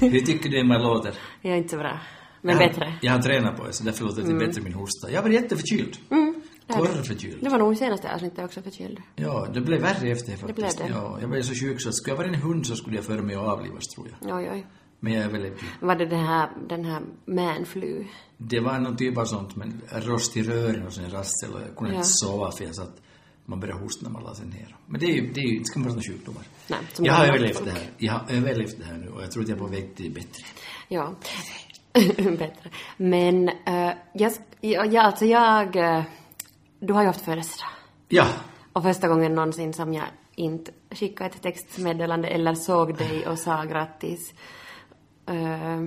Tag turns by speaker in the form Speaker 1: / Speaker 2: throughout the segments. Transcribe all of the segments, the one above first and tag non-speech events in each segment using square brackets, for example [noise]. Speaker 1: Hur tycker du Emma låter?
Speaker 2: Jag är inte bra. Men
Speaker 1: jag,
Speaker 2: bättre. Mm.
Speaker 1: Jag har tränat på det, så därför låter det bättre min hosta. Jag var jätteförkyld. Mm. Torrförkyld.
Speaker 2: Det var nog senaste avsnittet också förkyld.
Speaker 1: Ja, det blev värre efter faktiskt.
Speaker 2: blev det.
Speaker 1: Ja, jag blev så sjuk så att skulle jag varit en hund så skulle jag före mig och avlivas, tror jag.
Speaker 2: Oj, oj.
Speaker 1: Men jag är väldigt...
Speaker 2: Var det den här, den här manflu?
Speaker 1: Det var någon typ av sånt, men rost i rören och sen rassel och jag kunde
Speaker 2: Ja.
Speaker 1: inte sova för jag satt... Man började hosta när man la sig ner. Men det är ju, det är ju, det ska man prata om sjukdomar.
Speaker 2: Nej, som
Speaker 1: jag har
Speaker 2: gamla
Speaker 1: överlevt
Speaker 2: folk.
Speaker 1: det här. Jag har överlevt det här nu och jag tror att jag är på väg till bättre.
Speaker 2: Ja. [laughs] Bättre. Men, eh, jag, ja, ja, alltså jag... eh, du har ju haft födelsedag.
Speaker 1: Ja,
Speaker 2: Och första gången någonsin som jag inte skickade ett textmeddelande eller såg dig och sa grattis. Eh,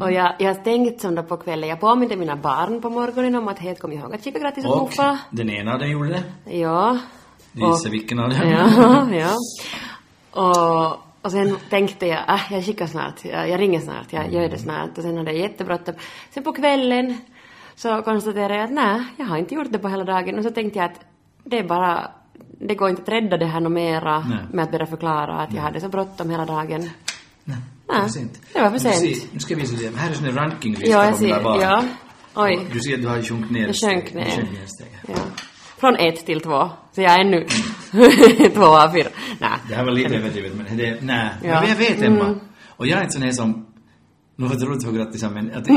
Speaker 2: Och jag, jag tänkte som då på kvällen, jag påminde mina barn på morgonen om att hej, kom ihåg att skicka grattis åt
Speaker 1: och
Speaker 2: muffa.
Speaker 1: den ena av dem gjorde det.
Speaker 2: Ja. Och-
Speaker 1: Gissa vilken av dem.
Speaker 2: [laughs] Ja, ja. Och, och sen tänkte jag, ah, jag skickar snart, jag, jag ringer snart, jag gör det snart. Och sen hade jag jättebråttom. Sen på kvällen så konstaterade jag att nej, jag har inte gjort det på hela dagen. Och så tänkte jag att det är bara, det går inte att rädda det här något mera
Speaker 1: Nej.
Speaker 2: med att börja förklara att jag hade så bråttom hela dagen.
Speaker 1: Nej,
Speaker 2: Nej, det var för
Speaker 1: Men du
Speaker 2: sent.
Speaker 1: ser, Nu ska jag visa dig. Här är en sån där
Speaker 2: Ja,
Speaker 1: rankinglista
Speaker 2: jag
Speaker 1: på mina
Speaker 2: ser,
Speaker 1: barn.
Speaker 2: ja. Oj.
Speaker 1: Du ser att du har sjunkit ner
Speaker 2: Jag
Speaker 1: ett steg.
Speaker 2: sjönk ner.
Speaker 1: Du sjönk ner ett steg.
Speaker 2: Ja. Från ett till två, så jag är nu [laughs] två av fyra. Nej.
Speaker 1: Det här var lite överdrivet, men det... Nej.
Speaker 2: Ja. Mm.
Speaker 1: Men jag vet, Emma. Och jag är inte sån här som... Nu var det roligt att få grattis, men...
Speaker 2: [laughs]
Speaker 1: Att,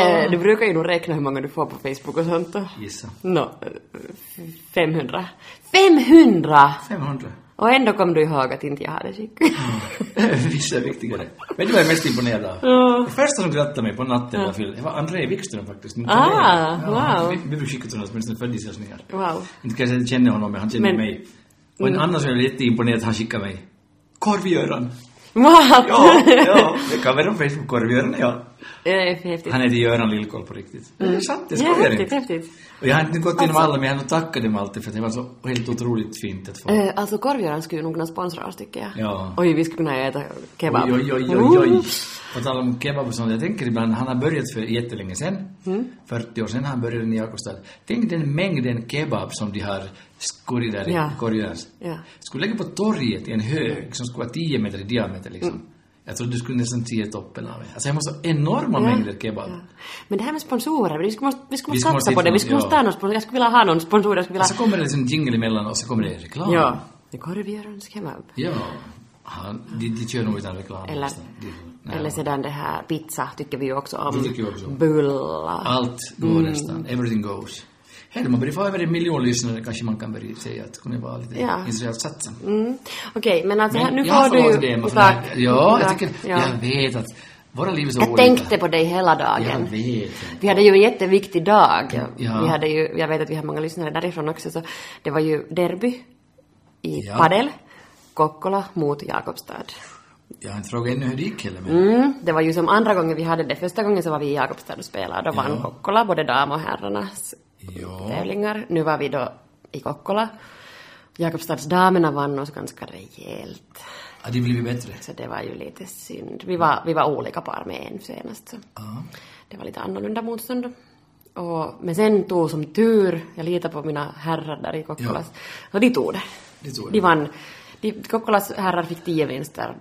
Speaker 2: Eh, Du brukar ju nog räkna hur många du får på Facebook och sånt. då.
Speaker 1: gissa.
Speaker 2: Nå, eh, 500. 500!
Speaker 1: 500.
Speaker 2: Och ändå kom du ihåg att inte jag hade skickat.
Speaker 1: [laughs] Vissa är viktigare. Men du var jag mest imponerad av.
Speaker 2: Ja.
Speaker 1: Det första som grattade mig på natten jag fyllde, det var André Wikström faktiskt. min
Speaker 2: Ah,
Speaker 1: kollega.
Speaker 2: wow.
Speaker 1: Vi, vi brukar skicka till honom åtminstone födelsedagshälsningar.
Speaker 2: Wow.
Speaker 1: Inte kanske jag känner honom, men han känner
Speaker 2: Men- Mm.
Speaker 1: mig. Och en annan som jag blev jätteimponerad, han skickade mig. Korvgöran!
Speaker 2: What? [laughs]
Speaker 1: Ja, ja, det kan vara på Facebook, Korvgöran, ja.
Speaker 2: det är häftigt.
Speaker 1: Han heter Göran Lillkoll på riktigt.
Speaker 2: Mm.
Speaker 1: Det är sant, jag skojar
Speaker 2: häftigt,
Speaker 1: inte.
Speaker 2: häftigt.
Speaker 1: Och jag har inte gått igenom alla, men jag har nog tackat dem alltid för att det var så helt otroligt fint att få.
Speaker 2: Eh, Alltså korvgöraren skulle nog kunna sponsra oss tycker jag.
Speaker 1: Ja.
Speaker 2: Oj, vi skulle kunna äta kebab.
Speaker 1: Oj, oj, oj, oj, oj.
Speaker 2: Mm.
Speaker 1: På tal om kebab och sånt, jag tänker ibland, han har börjat för jättelänge sedan,
Speaker 2: Mm.
Speaker 1: 40 år sedan han började i Jakobstad. Tänk den mängden kebab som de har skurit där
Speaker 2: Ja.
Speaker 1: i korridors.
Speaker 2: Ja.
Speaker 1: Skulle lägga på torget i en hög som skulle vara 10 meter i diameter liksom.
Speaker 2: Mm.
Speaker 1: Jag tror du skulle nästan se toppen av det. Alltså jag måste ha enorma mängder kebab.
Speaker 2: Ja. Men det här med sponsorer, vi skulle måste, vi skulle
Speaker 1: Vi
Speaker 2: måste
Speaker 1: skulle
Speaker 2: satsa
Speaker 1: måste
Speaker 2: på det. Vi
Speaker 1: hitta
Speaker 2: skulle
Speaker 1: någon,
Speaker 2: måste ha någon sponsor. Jag skulle
Speaker 1: ja.
Speaker 2: vilja ha någon sponsor. Jag skulle
Speaker 1: Och
Speaker 2: vilja
Speaker 1: så kommer det liksom jingle emellan och så kommer det reklam.
Speaker 2: Ja. Det är korvgörarens kebab.
Speaker 1: ja. Han, de, de kör nog utan reklam.
Speaker 2: Eller,
Speaker 1: nästan. De- nej.
Speaker 2: eller sedan det här pizza tycker vi ju också
Speaker 1: Det
Speaker 2: om.
Speaker 1: tycker vi också om.
Speaker 2: Bullar.
Speaker 1: Allt går
Speaker 2: Mm.
Speaker 1: nästan. Everything goes. Hej, man börjar få över en miljon lyssnare kanske man kan börja säga att kunde vara lite
Speaker 2: Ja.
Speaker 1: intresserad av satsen.
Speaker 2: Mm. Okej, men alltså här, nu
Speaker 1: jag har
Speaker 2: får du
Speaker 1: förlåtit dig,
Speaker 2: ju...
Speaker 1: Emma, för
Speaker 2: Tack.
Speaker 1: det här. Ja, jag
Speaker 2: Tack.
Speaker 1: tycker,
Speaker 2: Ja.
Speaker 1: jag vet att våra liv är så
Speaker 2: Jag
Speaker 1: olika.
Speaker 2: tänkte på dig hela
Speaker 1: Jag
Speaker 2: dagen.
Speaker 1: vet.
Speaker 2: Vi hade ju en jätteviktig dag.
Speaker 1: Ja.
Speaker 2: Vi hade ju, jag vet att vi har många lyssnare därifrån också, så det var ju derby i
Speaker 1: Ja.
Speaker 2: padel, Kokkola mot Jakobstad.
Speaker 1: Jag har inte frågat ännu hur det gick heller, men
Speaker 2: Mm, det var ju som andra gången vi hade det. Första gången så var vi i Jakobstad och spelade. Då vann
Speaker 1: Ja.
Speaker 2: Kokkola, både dam och herrarnas
Speaker 1: ja.
Speaker 2: tävlingar. Nu var vi då i Kokkola. Jakobstadsdamerna vann oss ganska rejält.
Speaker 1: Ja, det blev bättre.
Speaker 2: Så det var ju lite synd. Vi var, vi var olika på armén senast. Så.
Speaker 1: Ja.
Speaker 2: Det var lite annorlunda motstånd. Och, men sen tog som tur, jag litar på mina herrar där i Kokkolas, No, och de tog det.
Speaker 1: Det tog det.
Speaker 2: de vann. De, Kokkolas herrar fick tio vinster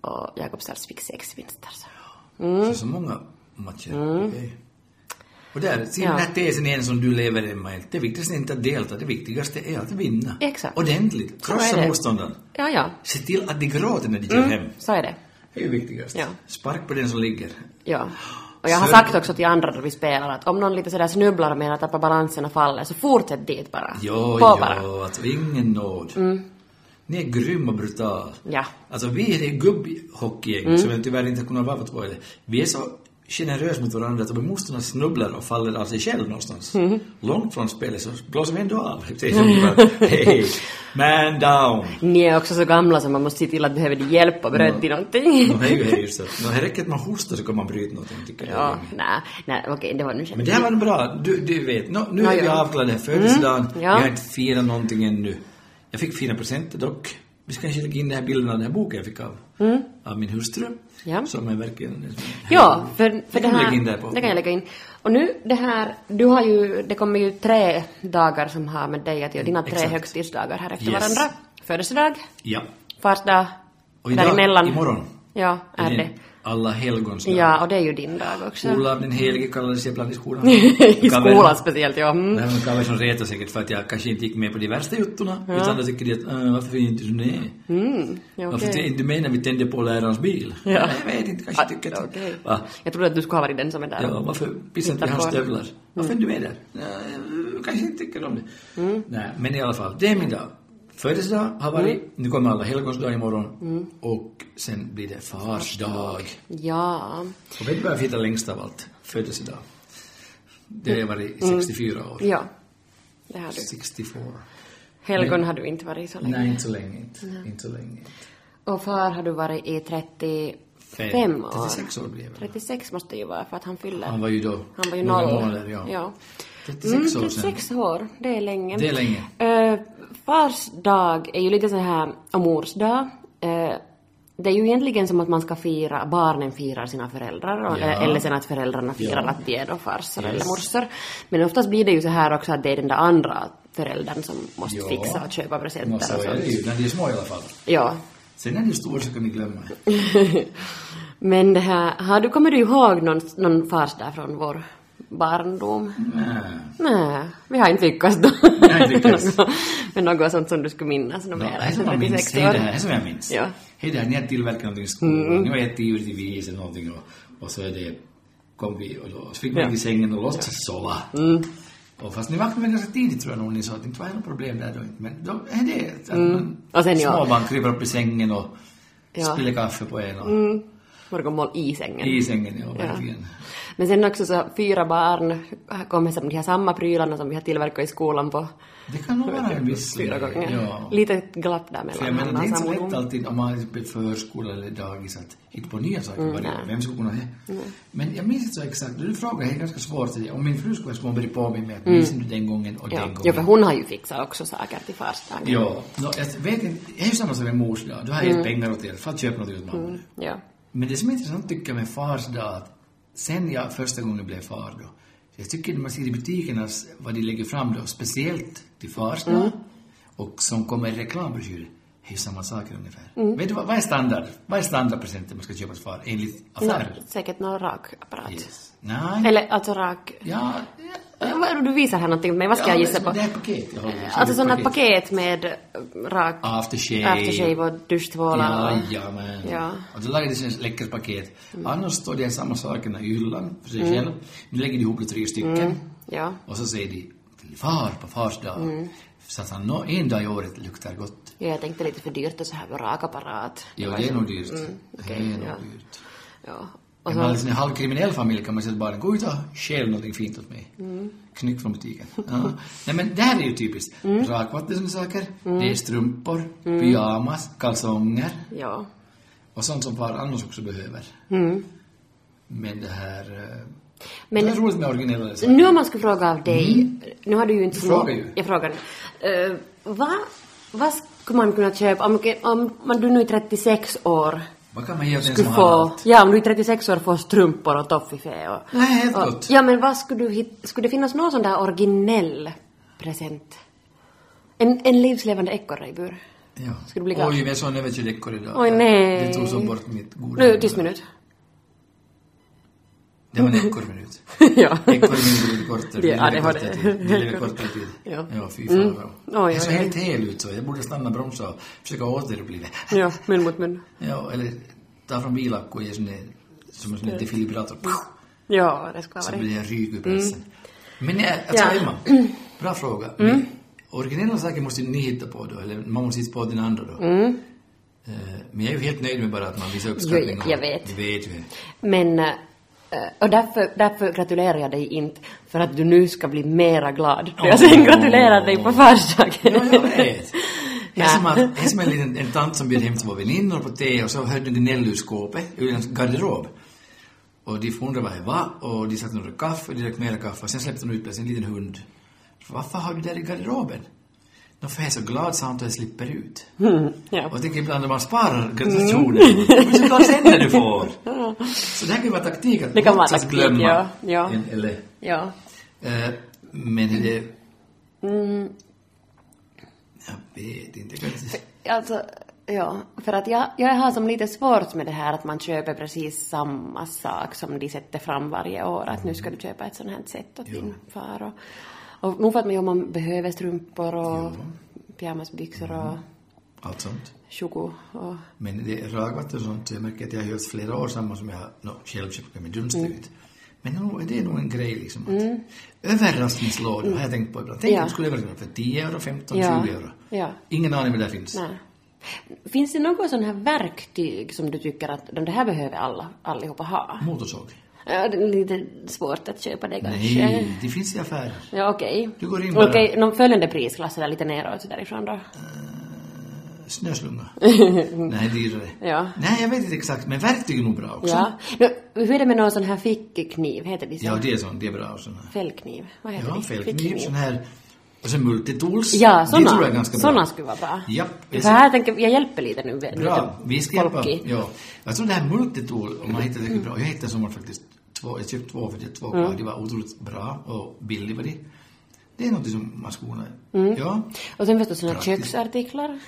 Speaker 2: och Jakobstads fick sex vinster. Så. Mm.
Speaker 1: Så, så många matcher. Okej. Och där, ser
Speaker 2: Ja.
Speaker 1: den här tesen igen som du lever Emma i. Det viktigaste är inte att delta, det viktigaste är att vinna.
Speaker 2: Exakt.
Speaker 1: Ordentligt.
Speaker 2: Så är
Speaker 1: Krossa
Speaker 2: det.
Speaker 1: motståndaren.
Speaker 2: Ja, ja,
Speaker 1: Se till att de gråter när de kör hem.
Speaker 2: så är det.
Speaker 1: Det är ju viktigast.
Speaker 2: Ja.
Speaker 1: Spark på den som ligger.
Speaker 2: Ja. Och jag har sagt också till andra när vi spelar att om någon lite sådär snubblar med att tappa balansen och faller så fortsätt dit bara.
Speaker 1: Jo,
Speaker 2: På
Speaker 1: jo,
Speaker 2: bara. Mm.
Speaker 1: alltså ingen nåd. Ni är grym och brutal.
Speaker 2: Ja.
Speaker 1: Alltså vi är det gubbhockeygäng som jag tyvärr inte kunnat vara på. det. Vi är så generösa mot varandra att om en motståndare snubblar och faller av sig själv någonstans, långt från spelet, så blåser vi ändå av. Det är som bara, hey, man down.
Speaker 2: Ni är också så gamla så man måste se till att behöver ni hjälp och bröd
Speaker 1: Mm.
Speaker 2: till någonting.
Speaker 1: No, hej, hej, just det. No, det räcker att man hostar så kan man bryta någonting, tycker jag.
Speaker 2: [laughs] Ja, nej, nej, okej, det var nu
Speaker 1: Men det här var en bra. Du, du vet, Nå, nu
Speaker 2: Ja,
Speaker 1: är vi
Speaker 2: ja.
Speaker 1: avklarade här födelsedagen.
Speaker 2: Mm, ja.
Speaker 1: Jag har inte firat någonting ännu. Jag fick fina presenter dock. Vi ska kanske lägga in den här bilden av den här boken jag fick av, av min hustru.
Speaker 2: Mm. Ja.
Speaker 1: Som är verkligen...
Speaker 2: Ja, för, för
Speaker 1: Det
Speaker 2: det
Speaker 1: kan vi
Speaker 2: här...
Speaker 1: lägga in där på.
Speaker 2: Det kan jag lägga in. Och nu det här, du har ju, det kommer ju tre dagar som har med dig att göra, dina tre
Speaker 1: Exakt.
Speaker 2: högtidsdagar här efter
Speaker 1: Yes.
Speaker 2: varandra. Födelsedag,
Speaker 1: Ja.
Speaker 2: farsdag, däremellan.
Speaker 1: imorgon,
Speaker 2: Ja, är det.
Speaker 1: din Alla helgons dag.
Speaker 2: Ja, och det är ju din dag också.
Speaker 1: Olav den helige kallades jag ibland i
Speaker 2: [laughs]
Speaker 1: skolan.
Speaker 2: I
Speaker 1: Kaver-
Speaker 2: skolan speciellt, ja. Mm.
Speaker 1: Det här med Kalle som retar säkert för att jag kanske inte gick med på de värsta juttorna. Utan då tycker de att äh, varför är inte du med?
Speaker 2: Mm. Ja,
Speaker 1: Varför
Speaker 2: okej.
Speaker 1: okay. du med när vi tände på lärarens bil?
Speaker 2: Ja.
Speaker 1: Jag vet inte, kanske tycker att...
Speaker 2: Ah, Okej.
Speaker 1: Va?
Speaker 2: Jag trodde att du skulle ha varit den som är där.
Speaker 1: Ja, varför pissar inte
Speaker 2: Titta
Speaker 1: i hans
Speaker 2: på-
Speaker 1: stövlar? Varför är du med där? Äh, kanske inte tycker om det.
Speaker 2: Mm.
Speaker 1: Nej, men i alla fall, det är min dag. Födelsedag har varit,
Speaker 2: Mm.
Speaker 1: nu kommer alla helgons dag imorgon och sen blir det fars dag.
Speaker 2: Ja.
Speaker 1: Och vet du vad jag firar längst av allt? Födelsedag. Det har jag varit i 64 år.
Speaker 2: Mm. Ja. Det har du.
Speaker 1: 64.
Speaker 2: Helgon har du inte varit så länge.
Speaker 1: Nej, inte så länge inte. Inte så länge inte.
Speaker 2: Och far har du varit i 35 år.
Speaker 1: 36 år blev jag.
Speaker 2: 36 måste ju vara för att han fyller.
Speaker 1: Han var ju då
Speaker 2: Han var ju
Speaker 1: några
Speaker 2: noll.
Speaker 1: månader, ja.
Speaker 2: ja.
Speaker 1: 36
Speaker 2: mm,
Speaker 1: år
Speaker 2: 36 år, det är länge.
Speaker 1: Det är länge.
Speaker 2: Eh, fars dag är ju lite så här, och mors dag. Eh, det är ju egentligen som att man ska fira, barnen firar sina föräldrar, och,
Speaker 1: Ja.
Speaker 2: eh, eller sen att föräldrarna firar
Speaker 1: Ja.
Speaker 2: att de är då farsor eller
Speaker 1: Yes.
Speaker 2: morsor. Men oftast blir det ju så här också att det är den där andra föräldern som måste
Speaker 1: Ja.
Speaker 2: fixa och köpa presenter
Speaker 1: Och så
Speaker 2: och
Speaker 1: är det
Speaker 2: sånt.
Speaker 1: ju, när de är små i alla fall.
Speaker 2: Ja. [laughs]
Speaker 1: Sen när de är stora så kan ni glömma.
Speaker 2: Men det här, har du, kommer du ihåg någon, någon farsdag från vår barndom?
Speaker 1: Nej.
Speaker 2: Nej, vi har inte lyckats då.
Speaker 1: Vi har inte lyckats.
Speaker 2: Med något sånt som du skulle minnas något
Speaker 1: Nå,
Speaker 2: mer
Speaker 1: det här som jag
Speaker 2: än
Speaker 1: minns.
Speaker 2: 36
Speaker 1: Hej det
Speaker 2: år.
Speaker 1: här som jag minns.
Speaker 2: Ja.
Speaker 1: Hej det här, ni har tillverkat någonting i skolan. Ni har gett djur till vis eller någonting och, och så är det, kom vi och då, så fick man
Speaker 2: Ja.
Speaker 1: ligga i sängen och låtsas sova. Och fast ni vaknade väl ganska tidigt tror jag nog ni sa att det inte var något problem där då inte. Men då är det att man,
Speaker 2: Och sen ja.
Speaker 1: småbarn kryper upp i sängen och
Speaker 2: Ja.
Speaker 1: spiller kaffe på en och
Speaker 2: Morgonmål i sängen.
Speaker 1: i sängen, ja
Speaker 2: Ja.
Speaker 1: verkligen.
Speaker 2: Men sen också så fyra barn kommer som de här samma prylarna som vi har tillverkat i skolan på
Speaker 1: Det kan nog vara en viss...
Speaker 2: fyra gånger.
Speaker 1: Ja.
Speaker 2: Lite glapp där
Speaker 1: För
Speaker 2: mellan
Speaker 1: jag menar, det är
Speaker 2: alla
Speaker 1: inte så
Speaker 2: samma
Speaker 1: lätt
Speaker 2: gång.
Speaker 1: alltid om man är på förskola eller dagis att hitta på nya saker
Speaker 2: Mm.
Speaker 1: varje år. Vem skulle kunna det? Men jag minns inte så exakt. Du frågar är ganska svårt. Om min fru skulle vara små på mig med att minns du den gången och
Speaker 2: Mm. Ja.
Speaker 1: den
Speaker 2: ja, för
Speaker 1: gången.
Speaker 2: hon har ju fixat också saker till farsdagen.
Speaker 1: Ja, no, jag vet inte. Det är ju samma som med mors dag. Du har
Speaker 2: Mm.
Speaker 1: gett pengar åt er. För att köpa något åt mamma.
Speaker 2: Ja.
Speaker 1: Men det som är intressant tycker jag med fars dag att sen jag första gången blev far då, jag tycker när man ser i butikerna s- vad de lägger fram då, speciellt till fars dag,
Speaker 2: Mm.
Speaker 1: och som kommer i reklambroschyrer, det är ju samma saker ungefär.
Speaker 2: Mm.
Speaker 1: Vet du vad, vad är standard? Vad är standardpresenten man ska köpa till far enligt affärer?
Speaker 2: Nå, säkert någon rakapparat.
Speaker 1: Yes. Nej.
Speaker 2: Eller alltså rak...
Speaker 1: Ja,
Speaker 2: Vad- Du visar här någonting åt mig, vad ska
Speaker 1: ja,
Speaker 2: jag
Speaker 1: det
Speaker 2: gissa
Speaker 1: är-
Speaker 2: på?
Speaker 1: Det är paket. Jag håller,
Speaker 2: Alltså sådana paket med eh, rak...
Speaker 1: Aftershave.
Speaker 2: aftershave och duschtvålar och...
Speaker 1: Jajamän.
Speaker 2: Ja.
Speaker 1: Och då lägger de sig ett läckert paket. Annars står det samma sakerna i hyllan för sig själv. Nu lägger de ihop det tre stycken.
Speaker 2: Ja.
Speaker 1: Och så säger de till far på fars dag. Så att han nå- en dag i året luktar gott.
Speaker 2: ja, jag tänkte lite för dyrt och så här med rakapparat.
Speaker 1: Ja, det är nog dyrt. det är nog
Speaker 2: ja.
Speaker 1: dyrt.
Speaker 2: Ja. Och
Speaker 1: Om
Speaker 2: så,
Speaker 1: man är liksom en halvkriminell familj kan man säga till barnen, gå ut och stjäl någonting fint åt mig. Knyck från butiken. Ja. Nej men det här är ju typiskt. Rakvatten som saker, det är strumpor, pyjamas, kalsonger
Speaker 2: ja.
Speaker 1: och sånt som far annars också behöver. Men det här... eh,
Speaker 2: Mm. Men-
Speaker 1: det är roligt med originella saker.
Speaker 2: Nu om man skulle fråga av dig, nu har du ju inte så
Speaker 1: Mm. frågar ju.
Speaker 2: Jag frågar nu. Eh, vad, vad skulle man kunna köpa, om, om, om du nu är 36 år,
Speaker 1: Vad kan man ge åt en som
Speaker 2: skulle
Speaker 1: har
Speaker 2: få,
Speaker 1: allt?
Speaker 2: ja om du är 36 år får strumpor och toffifee och...
Speaker 1: Nej, helt
Speaker 2: och-
Speaker 1: gott.
Speaker 2: Ja men vad skulle du hitta, skulle det finnas någon sån där originell present? En, en livslevande ekorre i bur?
Speaker 1: Ja.
Speaker 2: Ska du bli glad?
Speaker 1: Oj, vi är sån överkörd ekorre idag.
Speaker 2: Oj, nej.
Speaker 1: Det tog så bort mitt goda
Speaker 2: Nu,
Speaker 1: minne.
Speaker 2: tyst minut.
Speaker 1: Det var en ekorrminut.
Speaker 2: [laughs] ja.
Speaker 1: Ekorrminut blir kortare.
Speaker 2: Det- ja, det har
Speaker 1: kortare
Speaker 2: det.
Speaker 1: tid. Det lever kortare tid.
Speaker 2: Ja. Mm.
Speaker 1: ja, fy fan vad bra.
Speaker 2: Oj,
Speaker 1: Jag såg
Speaker 2: oj, oj.
Speaker 1: helt hel ut så. Jag borde stanna, bromsa och försöka återuppliva.
Speaker 2: ja, mun mot mun.
Speaker 1: Ja, eller ta från bilack och ge sån där, som en sån där defibrillator. Pow!
Speaker 2: Ja, det skulle ha
Speaker 1: Så
Speaker 2: varit. Mm.
Speaker 1: blir jag ryg ur pressen. Men jag, alltså
Speaker 2: Ja. Mm.
Speaker 1: Emma, bra fråga. Men Originella saker måste ju ni hitta på då, eller man måste hitta på den andra då. Eh, Men jag är ju helt nöjd med bara att man visar uppskattning.
Speaker 2: Mm. Jo,
Speaker 1: och-
Speaker 2: jag vet.
Speaker 1: Du vet ju.
Speaker 2: Men, eh, och därför, därför gratulerar jag dig inte, för att du nu ska bli mera glad. För jag sen
Speaker 1: Åh.
Speaker 2: gratulerar dig på
Speaker 1: Ja,
Speaker 2: farsdagen.
Speaker 1: jag vet. Det är
Speaker 2: Nä.
Speaker 1: som, att, det är som en liten en tant som bjöd hem två väninnor på te och så hörde de gnäll ur skåpet, ur en garderob. Och de undrade vad det var och de satt och drack kaffe, de drack mera kaffe och sen släppte de ut plötsligt en liten hund. Varför har du där i garderoben? Nå, för jag är så glad, sa han, att jag slipper ut.
Speaker 2: [laughs] Ja.
Speaker 1: Och jag tänker ibland när man sparar gratulationer, mm. så glad sen när du får. Så det här kan ju vara taktik att
Speaker 2: Det kan vara
Speaker 1: låtsas
Speaker 2: taktik,
Speaker 1: glömma.
Speaker 2: ja, ja.
Speaker 1: En- Eller,
Speaker 2: ja.
Speaker 1: eh, men det...
Speaker 2: Mm.
Speaker 1: Jag vet inte. Jag kan inte...
Speaker 2: Alltså, Ja, för att jag, jag har som lite svårt med det här att man köper precis samma sak som de sätter fram varje år. Att nu ska du köpa ett sånt här set åt din far. Och, och nog för att man, jo, man behöver strumpor och pyjamasbyxor och
Speaker 1: Allt sånt.
Speaker 2: tjogo och...
Speaker 1: Men det är ragvatten och sånt, så jag märker att jag har gjort flera år samma som jag no, själv köpte min dunst ut. Men nog- det är nog en grej liksom att överraskningslådor har jag tänkt på ibland. Tänk
Speaker 2: Mm. Ja.
Speaker 1: om du skulle överraska mig för 10 euro, 15,
Speaker 2: Ja.
Speaker 1: 20 euro.
Speaker 2: Ja.
Speaker 1: Ingen aning vad det finns.
Speaker 2: Nej. Finns det något sån här verktyg som du tycker att de- det här behöver alla, allihopa ha?
Speaker 1: Motorsåg.
Speaker 2: Ja, det är lite svårt att köpa det kanske.
Speaker 1: Nej, det finns i affärer.
Speaker 2: Ja, okej.
Speaker 1: Du går in bara.
Speaker 2: Okej, någon följande prisklass eller lite neråt därifrån då? [laughs]
Speaker 1: Snöslunga. Nej, dyrare.
Speaker 2: Ja.
Speaker 1: Nej, jag vet inte exakt, men verktyg är nog bra också.
Speaker 2: Ja. Nu, hur är det med någon sån här fickkniv? Heter det så?
Speaker 1: Ja, det är sånt, det är bra och sådana.
Speaker 2: Fällkniv? Vad heter
Speaker 1: Ja,
Speaker 2: det?
Speaker 1: fällkniv, sån här. Och sen multitools.
Speaker 2: Ja,
Speaker 1: Det tror jag är
Speaker 2: sådana.
Speaker 1: ganska bra.
Speaker 2: Sådana skulle vara bra.
Speaker 1: Japp,
Speaker 2: För här tänker jag, jag hjälper lite nu. med
Speaker 1: Bra,
Speaker 2: lite
Speaker 1: vi ska hjälpa.
Speaker 2: folkig.
Speaker 1: Ja. Jag tror det här multitool, om man hittar det bra. Jag hittade en sommar faktiskt två, jag köpte två för det är två
Speaker 2: Mm.
Speaker 1: kvar. De var otroligt bra och billiga var de. Det är något som man skulle kunna...
Speaker 2: Mm.
Speaker 1: Ja.
Speaker 2: Och sen förstås såna
Speaker 1: Praktiskt.
Speaker 2: köksartiklar.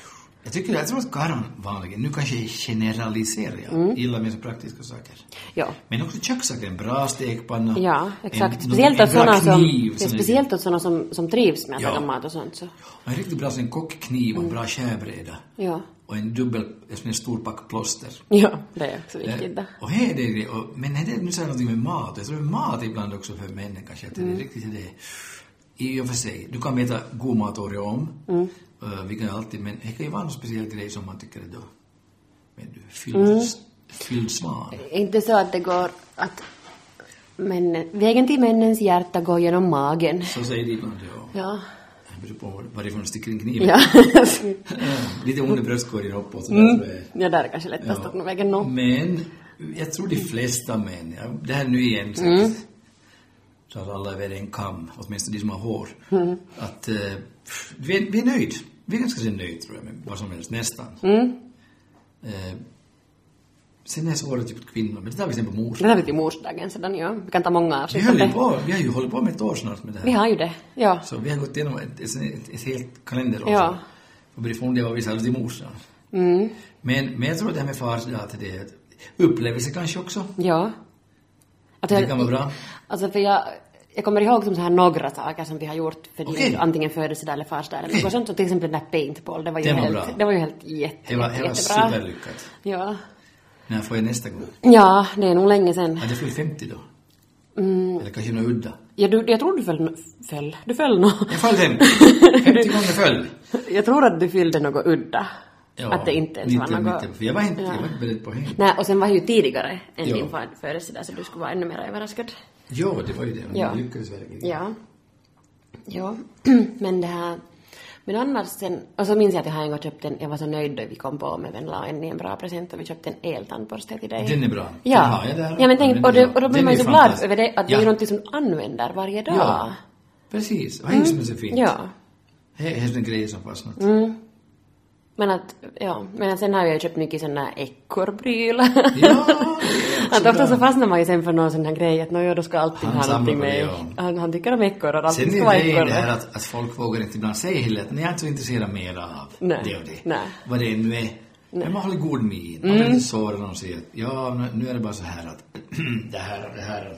Speaker 1: Jag tycker, jag tror att karvan vanligen, nu kanske jag generaliserar jag,
Speaker 2: Mm.
Speaker 1: gillar mer så praktiska saker.
Speaker 2: Ja.
Speaker 1: Men också kökssaker, en bra stekpanna.
Speaker 2: Ja, exakt.
Speaker 1: En,
Speaker 2: speciellt
Speaker 1: en
Speaker 2: åt
Speaker 1: bra
Speaker 2: sådana som,
Speaker 1: kniv,
Speaker 2: ja,
Speaker 1: sån här-
Speaker 2: speciellt åt sådana som, som trivs med att
Speaker 1: Ja.
Speaker 2: laga mat och sånt. Så.
Speaker 1: En riktigt bra sån kockkniv
Speaker 2: Mm.
Speaker 1: och en bra skärbräda.
Speaker 2: Ja. [laughs]
Speaker 1: Och en dubbel, en sån här stor pack plåster.
Speaker 2: ja, det är också viktigt. då.
Speaker 1: Eh, Och här är det det. Och, men är det nu säger jag någonting med mat. Jag tror det är mat ibland också för männen kanske. Att
Speaker 2: Mm.
Speaker 1: det är riktigt det. I och för sig, du kan äta god mat året om. Mm. vilket är alltid, men det kan ju vara någon speciell grej som man tycker är då. Men du, fylld,
Speaker 2: Mm.
Speaker 1: fylld svan.
Speaker 2: Inte så att det går att... Men, vägen till männens hjärta går genom magen. [laughs]
Speaker 1: Så säger de ibland, ja.
Speaker 2: Ja.
Speaker 1: Det beror på varifrån du sticker in kniven.
Speaker 2: Ja, [laughs]
Speaker 1: Eh, Lite under bröstkorgen uppåt. Så där, tror jag.
Speaker 2: ja där är kanske lättast att nå vägen nå.
Speaker 1: Men jag tror de flesta män, ja, det här nu igen säkert, så att alla är över en kam, åtminstone de som har hår, att eh, pff, vi, är, vi är nöjd. Vi är ganska så nöjd tror jag med vad som helst, nästan. Eh, sen är det svårare typ kvinnor, men det där vi sen på mor.
Speaker 2: Det där var till morsdagen sedan, ja. Vi kan ta många
Speaker 1: Vi
Speaker 2: avsnitt av
Speaker 1: höll ju
Speaker 2: det.
Speaker 1: på, vi har ju hållit på med ett år snart med det här.
Speaker 2: Vi har ju det, ja.
Speaker 1: Så vi har gått igenom ett, ett, ett, ett helt kalenderår.
Speaker 2: Ja. Mm.
Speaker 1: Och börjat fundera vad vi sa till morsan. Men, men jag tror att det här med fars dag till det, är att upplevelse kanske också.
Speaker 2: Ja. Att
Speaker 1: Det
Speaker 2: jag-
Speaker 1: kan vara bra.
Speaker 2: Alltså för jag, jag kommer ihåg som så här några saker som vi har gjort för din
Speaker 1: Okej.
Speaker 2: antingen födelsedag eller farsdag eller
Speaker 1: Okej.
Speaker 2: något sånt. Och till exempel den där paintball, det var ju
Speaker 1: Den var
Speaker 2: helt,
Speaker 1: bra.
Speaker 2: det var ju helt jätte,
Speaker 1: Det var,
Speaker 2: jätte,
Speaker 1: det var
Speaker 2: jättebra.
Speaker 1: superlyckat.
Speaker 2: Ja.
Speaker 1: När får jag nästa gång?
Speaker 2: ja, det är nog länge sedan.
Speaker 1: Ja, det får ju 50 då.
Speaker 2: Mm.
Speaker 1: Eller kanske något udda.
Speaker 2: Ja, du, jag tror du föll, föll, du föll nog. [laughs]
Speaker 1: Jag föll 50. 50 gånger föll.
Speaker 2: Jag tror att du fyllde något udda.
Speaker 1: Ja,
Speaker 2: att det inte ens var
Speaker 1: 19,
Speaker 2: något...
Speaker 1: 19, för jag var inte, jag var inte beredd på det.
Speaker 2: Nej, och sen var det ju tidigare än
Speaker 1: Ja.
Speaker 2: din far- födelsedag så du skulle vara ännu mer överraskad.
Speaker 1: Ja, det var ju det. Men
Speaker 2: Ja.
Speaker 1: jag lyckades verkligen.
Speaker 2: Ja. Ja. [clears throat] Men det här... Men annars sen... Och så minns jag att jag har en gång köpt en... Jag var så nöjd då vi kom på med en la en, en bra present och vi köpte en eltandborste till dig.
Speaker 1: Den är bra.
Speaker 2: Ja.
Speaker 1: Den har jag där.
Speaker 2: Ja, men tänk,
Speaker 1: Den
Speaker 2: och,
Speaker 1: är
Speaker 2: det,
Speaker 1: bra.
Speaker 2: och då blir
Speaker 1: Den
Speaker 2: man
Speaker 1: är
Speaker 2: ju så glad
Speaker 1: fantastisk.
Speaker 2: över det, att det är
Speaker 1: Ja.
Speaker 2: ju någonting som du använder varje dag.
Speaker 1: Ja. Precis. Och det är ju som är så fint.
Speaker 2: Mm. Ja. Mm.
Speaker 1: Det är helt en grej som fastnat.
Speaker 2: Men att, ja, men att sen har jag ju köpt mycket sådana ekorrprylar. [laughs]
Speaker 1: Ja, det är
Speaker 2: Att
Speaker 1: också
Speaker 2: ofta så
Speaker 1: bra.
Speaker 2: fastnar man ju sen för någon sån här grej att nåja, då ska allting
Speaker 1: Han
Speaker 2: ha någonting
Speaker 1: samlar på
Speaker 2: med...
Speaker 1: det, ja.
Speaker 2: Han, han tycker om ekorrar,
Speaker 1: Sen
Speaker 2: allting ska vara
Speaker 1: är det det
Speaker 2: ekorrar.
Speaker 1: här att, att folk vågar inte ibland säga heller att ni är inte så intresserade mera av
Speaker 2: Nej.
Speaker 1: det och det.
Speaker 2: Nej. Mm.
Speaker 1: Vad det nu är. Men man håller god min. Man blir inte sårad när de säger att ja, nu- nu är det bara så här att [clears throat] det här och det här.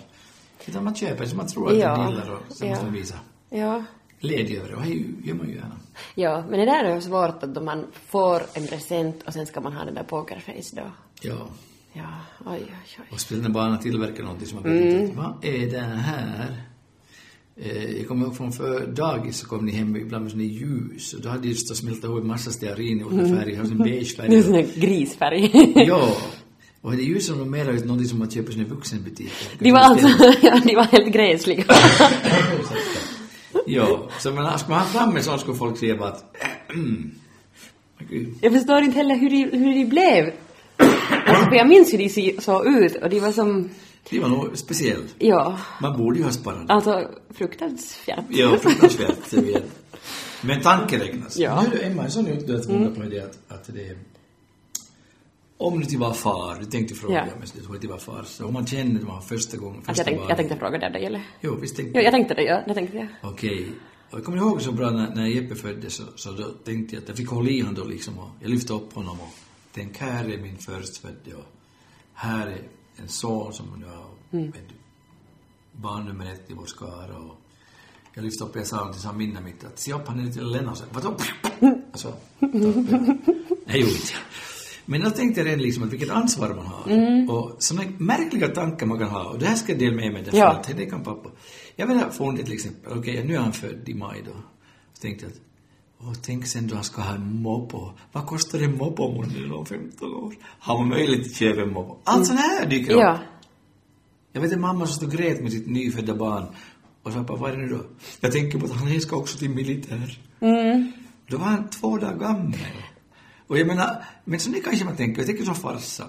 Speaker 1: Utan man köper som man tror att
Speaker 2: Ja.
Speaker 1: man gillar och sen
Speaker 2: Ja.
Speaker 1: måste man visa
Speaker 2: Ja.
Speaker 1: glädje över det. Och det är ju- gör man ju gärna.
Speaker 2: Ja, men det där är ju svårt att då man får en present och sen ska man ha den där pokerface då.
Speaker 1: Ja.
Speaker 2: Ja, oj, oj, oj.
Speaker 1: Och speciellt när barnen tillverkar någonting som man vet
Speaker 2: Mm.
Speaker 1: inte, vad är det här? Eh, jag kommer ihåg från för dagis så kom ni hem ibland med såna ljus och då hade just smält ihop en massa stearin i olika färger, och en beige
Speaker 2: Mm. Det är
Speaker 1: färg.
Speaker 2: sån här
Speaker 1: [laughs]
Speaker 2: grisfärg.
Speaker 1: ja. Och det är ju som de mera ut någonting som man köper i sina vuxenbutiker.
Speaker 2: De var alltså, [laughs] ja, de var helt gräsliga. [laughs]
Speaker 1: ja, så man, ska man ha fram en sån skulle folk säga bara att [clears throat] "Mm." Men gud.
Speaker 2: Jag förstår inte heller hur de, hur de blev. Alltså, för jag minns hur de se- såg ut och de var som,
Speaker 1: Det var nog speciellt.
Speaker 2: ja,
Speaker 1: Man borde ju ha sparat.
Speaker 2: alltså fruktansvärt. Alltså, [laughs]
Speaker 1: Ja, fruktansvärt. det vet. Men tanken räknas.
Speaker 2: Ja.
Speaker 1: Nu är Emma, så nu du att fundera på det att, att det är... Om du till var far, du tänkte fråga,
Speaker 2: Ja.
Speaker 1: men du tror inte var far, så om man känner att man har första gången,
Speaker 2: Att
Speaker 1: första
Speaker 2: jag, tänkte, jag tänkte fråga dig, eller?
Speaker 1: Jo, visst tänkte
Speaker 2: Jo, jag tänkte det, ja, det tänkte jag.
Speaker 1: Okej, Och jag kommer ihåg så bra när, när Jeppe föddes så, så då tänkte jag att jag fick hålla i honom då liksom och jag lyfte upp honom och tänkte här är min förstfödde och här är en son som nu har med barn nummer ett i vår skara och jag lyfte upp, jag sa någonting som minne mitt att se upp han är lite Lennon så vadå? Alltså, Och så, Nej, gjorde inte jag. Men då tänkte jag redan liksom att vilket ansvar man har. Och sådana märkliga tankar man kan ha. Och det här ska jag dela med mig därför
Speaker 2: Ja.
Speaker 1: att det kan pappa. Jag menar Fonde till exempel, okej nu är han född i maj då. Så tänkte jag att Åh, tänk sen då han ska ha en moppo. Vad kostar en moppo om hon är 15 år? Har man möjlighet att köpa en moppo? Allt sånt här dyker upp.
Speaker 2: Mm. Ja.
Speaker 1: Jag vet en mamma som stod och grät med sitt nyfödda barn. Och sa pappa, vad är det nu då? Jag tänker på att han ska också till militär.
Speaker 2: Mm.
Speaker 1: Då var han två dagar gammal. Och jag menar, men så det kanske man tänker, jag tänker som farsa.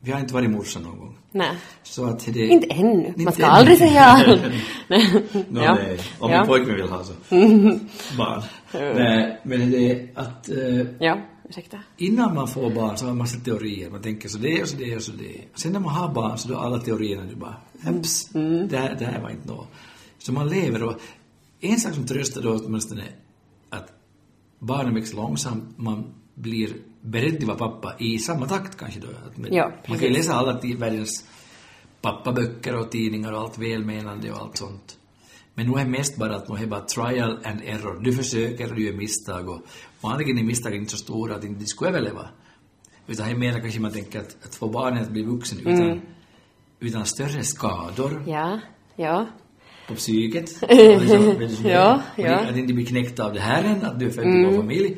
Speaker 1: Vi har inte varit morsa någon gång.
Speaker 2: Nej.
Speaker 1: Så att det...
Speaker 2: Inte ännu. Man
Speaker 1: Inte
Speaker 2: ska
Speaker 1: ännu.
Speaker 2: aldrig säga [laughs]
Speaker 1: [laughs]
Speaker 2: aldrig. Nej.
Speaker 1: Nå,
Speaker 2: Ja.
Speaker 1: nej. Om
Speaker 2: Ja.
Speaker 1: min pojkvän
Speaker 2: [laughs]
Speaker 1: vill ha så. barn. Nej, men det är att... eh,
Speaker 2: Ja, ursäkta.
Speaker 1: Innan man får barn så har man massa teorier. Man tänker så det och så det och så det. Sen när man har barn så då är alla teorierna nu bara, heps,
Speaker 2: Mm.
Speaker 1: det, här, det här var inte något. Så man lever och en sak som tröstar då åtminstone är att barnen växer långsamt, man blir beredd att vara pappa i samma takt kanske då. Att med,
Speaker 2: Ja,
Speaker 1: man kan ju läsa alla ti- världens pappaböcker och tidningar och allt välmenande och allt sånt. Men nu är mest bara att nu är bara trial and error. Du försöker och du gör misstag och vanligen är misstagen inte så stora att inte de skulle överleva. Utan det är mer kanske man tänker att, att få barnet att bli vuxen utan, utan större skador
Speaker 2: Ja, ja. [laughs]
Speaker 1: på psyket. Och liksom, vet du, som
Speaker 2: Ja,
Speaker 1: det-
Speaker 2: ja. Mm.
Speaker 1: Att inte bli knäckt av det här än, att du är född i vår familj.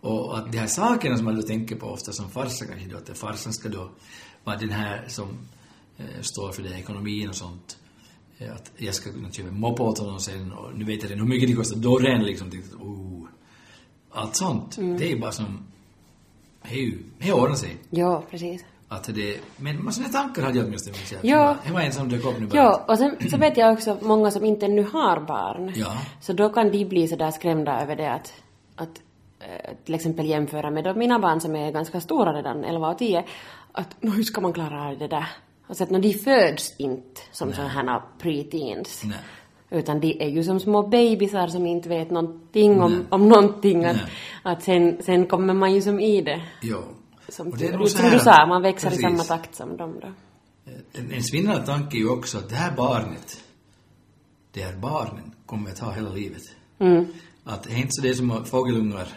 Speaker 1: Och att de här sakerna som man då tänker på ofta som farsa kanske då, att farsan ska då vara den här som eh, står för den här ekonomin och sånt. Eh, Att jag ska kunna köpa en moppe åt honom sen och nu vet jag redan hur mycket det kostar. Då redan liksom tänkte jag, oh. Allt sånt,
Speaker 2: Mm.
Speaker 1: det är ju bara som, det är ju- det ordnar sig.
Speaker 2: Ja, precis.
Speaker 1: Att det, men men såna tankar hade jag åtminstone. minns jag.
Speaker 2: Ja.
Speaker 1: Det var en som dök upp nu bara.
Speaker 2: Ja, och sen så vet jag också många som inte nu har barn.
Speaker 1: Ja.
Speaker 2: Så då kan de bli sådär skrämda över det att, att eh, till exempel jämföra med de, mina barn som är ganska stora redan, 11 och 10, att "Nå, hur ska man klara av det där? Och så att "Nå, de föds inte som sådana här preteens.
Speaker 1: Nej.
Speaker 2: Utan de är ju som små bebisar som inte vet någonting om, om någonting. Att,
Speaker 1: Nej.
Speaker 2: att sen, sen kommer man ju som i det.
Speaker 1: Ja.
Speaker 2: Som,
Speaker 1: Och det är nog
Speaker 2: du,
Speaker 1: så
Speaker 2: som
Speaker 1: här
Speaker 2: du
Speaker 1: att-
Speaker 2: sa, man växer i
Speaker 1: precis.
Speaker 2: samma takt som dem då.
Speaker 1: En, en svindlande tanke är ju också att det här barnet, det här barnen kommer att ha hela livet. Att det är inte så det är som fågelungar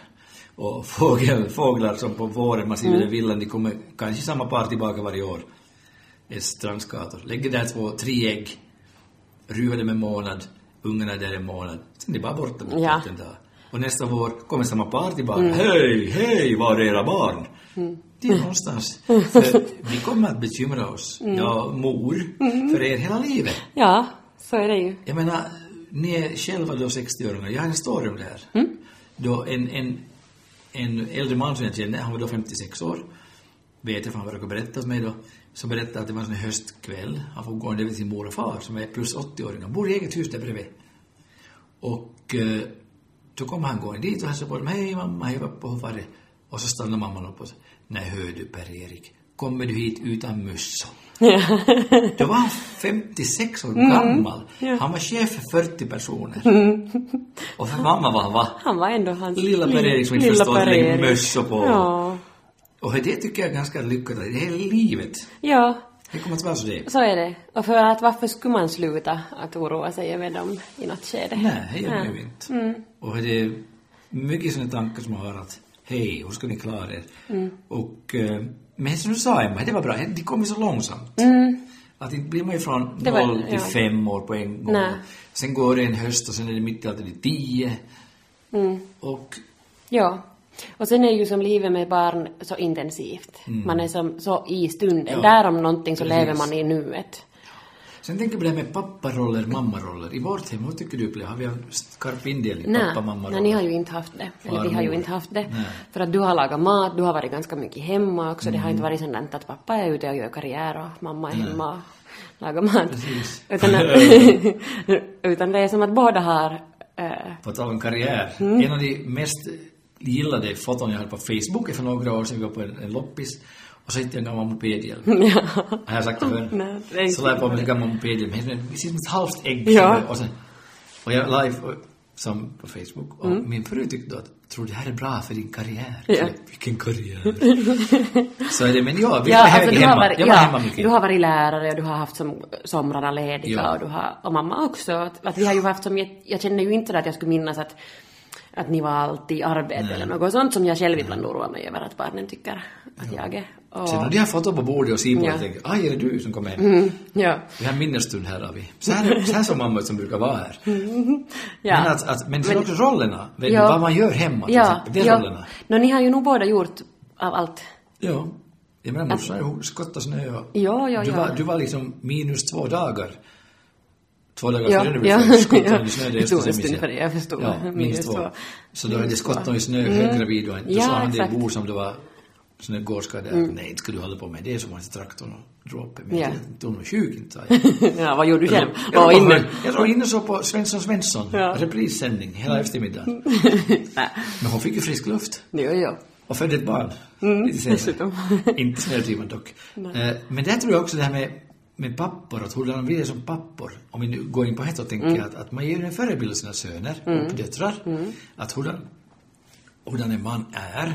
Speaker 1: och fågel, fåglar som på våren man ser mm. i villan, de kommer kanske samma par tillbaka varje år. Det är strandskator. Lägger där två, tre ägg, ruvar dem en månad, ungarna är där en månad, sen är det bara borta med
Speaker 2: Ja.
Speaker 1: en dag. Och nästa vår kommer samma par tillbaka. Hej, hej, var är era barn? Det är någonstans. För vi kommer att bekymra oss, jag mor, för er hela livet.
Speaker 2: Ja, så är det ju.
Speaker 1: Jag menar, ni är själva då 60-åringar, jag har en story om det här. Då en, en, en äldre man som jag känner, han var då 56 år, vet jag för han råkade berätta för mig då, som berättade att det var en sån här höstkväll, han får gå en del med sin mor och far som är plus 80-åringar, bor i eget hus där bredvid. Och eh, då kom han gående dit och hälsade på dem. Hej mamma, hej pappa, hur var det? Och så stannade mamman upp och sa, nej hör du Per-Erik, kommer du hit utan mössa? Då var han 56
Speaker 2: Mm.
Speaker 1: år gammal. Han var chef för 40 personer. Och för mamma var han va?
Speaker 2: Han var ändå hans...
Speaker 1: Lilla Per-Erik som inte
Speaker 2: lilla
Speaker 1: förstår att lägga
Speaker 2: Per-Erik.
Speaker 1: mössor på.
Speaker 2: Ja.
Speaker 1: Och det tycker jag är ganska lyckat. Det hela livet.
Speaker 2: ja,
Speaker 1: Det kommer att vara så det.
Speaker 2: så är det. Och för att varför skulle man sluta att oroa sig över dem i något skede?
Speaker 1: Nej, det gör man ju inte.
Speaker 2: Mm.
Speaker 1: Och det är mycket sådana tankar som man har att hej, hur ska ni klara er?
Speaker 2: Mm.
Speaker 1: Och, eh, men som du sa Emma, det var bra. Det kom ju så långsamt. Att inte blir man ju från
Speaker 2: Mm. Det var-
Speaker 1: noll till
Speaker 2: ja.
Speaker 1: fem år på en gång.
Speaker 2: Nej.
Speaker 1: Sen går det en höst och sen är det mitt i allt i det tio.
Speaker 2: Mm.
Speaker 1: Och
Speaker 2: Ja. Och sen är ju som livet med barn så intensivt. Man är som så i stunden.
Speaker 1: Mm. Ja.
Speaker 2: Där om någonting så
Speaker 1: Precis.
Speaker 2: lever man i nuet.
Speaker 1: sen tänker jag på det här med papparoller, mammaroller. I vårt hem, vad tycker du Pelle? Har vi en skarp indelning?
Speaker 2: Nej,
Speaker 1: Pappa, mamma,
Speaker 2: nej, ni har ju inte haft det. Eller vi har ju
Speaker 1: Farmor.
Speaker 2: inte haft det.
Speaker 1: Nej.
Speaker 2: För att du har lagat mat, du har varit ganska mycket hemma också. Det har
Speaker 1: Mm.
Speaker 2: inte varit sådant att pappa är ute och gör karriär och mamma är hemma och lagar mat.
Speaker 1: Precis.
Speaker 2: Utan,
Speaker 1: [laughs]
Speaker 2: utan det är som att båda har... eh,
Speaker 1: På tal om karriär.
Speaker 2: Mm.
Speaker 1: En av de mest gillade foton jag hade på Facebook för några år sedan, vi var på en, en loppis. Och så hittade jag en gammal
Speaker 2: [laughs]
Speaker 1: mopedhjälm. Har jag sagt det
Speaker 2: Nej, det är
Speaker 1: förr?
Speaker 2: inte
Speaker 1: Så la jag på mig en gammal mopedhjälm. Det ser ut som ett halvt ägg.
Speaker 2: Ja.
Speaker 1: Och, sen, och jag la i- som på Facebook. Och min fru tyckte då att, tror det här är bra för din karriär?
Speaker 2: Mm. Ja.
Speaker 1: Så jag, Vilken karriär? så är det, men ja, vi
Speaker 2: Ja,
Speaker 1: jag är
Speaker 2: alltså, du,
Speaker 1: hemma.
Speaker 2: har varit,
Speaker 1: jag var
Speaker 2: ja,
Speaker 1: hemma mycket.
Speaker 2: du har varit lärare och du har haft som somrarna lediga
Speaker 1: Ja.
Speaker 2: och, du har, och mamma också. Att, att vi har ju haft som, jätt- jag känner ju inte att jag skulle minnas att, att ni var alltid i arbete eller något sånt som jag själv ibland oroar mig över att barnen tycker att jag är. Och,
Speaker 1: Sen när de har foto på bordet och Simon
Speaker 2: Ja. Mm.
Speaker 1: ja. tänker, aj, är det du som kom hem?
Speaker 2: ja.
Speaker 1: Vi har en minnesstund här, har vi. Så här, så här som mamma som brukar vara här. Men,
Speaker 2: ja.
Speaker 1: att, att, men sen också rollerna. Vet du,
Speaker 2: Ja.
Speaker 1: Vad man gör hemma till
Speaker 2: ja,
Speaker 1: exempel. Det är
Speaker 2: ja.
Speaker 1: rollerna.
Speaker 2: No, ni har ju nog båda gjort av allt. [laughs]
Speaker 1: Ja. Jag menar morsan hon skottade snö och...
Speaker 2: Alltså- Ja, ja,
Speaker 1: du,
Speaker 2: ja.
Speaker 1: Var, du var liksom minus två dagar. Två dagar
Speaker 2: Ja,
Speaker 1: före du
Speaker 2: ja,
Speaker 1: blev född skottade
Speaker 2: ja.
Speaker 1: du snö.
Speaker 2: Det
Speaker 1: Det är
Speaker 2: tog en
Speaker 1: så
Speaker 2: stund
Speaker 1: minns
Speaker 2: för det, jag förstod.
Speaker 1: Ja, minus,
Speaker 2: Minus
Speaker 1: två.
Speaker 2: två. Mm.
Speaker 1: Så då hade det skottat i snö höggravid och du
Speaker 2: Ja,
Speaker 1: sa han det
Speaker 2: exakt. Mm.
Speaker 1: bor som det var sån där gårdsskada. Nej, inte ska du hålla på med det som var inte traktorn och droppen. Men
Speaker 2: Ja.
Speaker 1: det- hon var sjuk inte, sa jag.
Speaker 2: [laughs] ja, vad gjorde du själv?
Speaker 1: Jag
Speaker 2: Vad
Speaker 1: var
Speaker 2: inne?
Speaker 1: inne, jag var inne så på Svensson Svensson,
Speaker 2: Ja. Mm.
Speaker 1: reprissändning hela eftermiddagen.
Speaker 2: [laughs] Nej,
Speaker 1: Men hon fick ju frisk luft
Speaker 2: jo, jo.
Speaker 1: och födde ett barn lite senare.
Speaker 2: dessutom.
Speaker 1: Inte snödrivan dock. Eh, Men där tror jag också det här med, med pappor, att hurdana vi är som pappor. Om vi nu går in på hetta tänker jag att, att man ger en förebild av sina söner och döttrar. Att hurdan, hurdan en man är.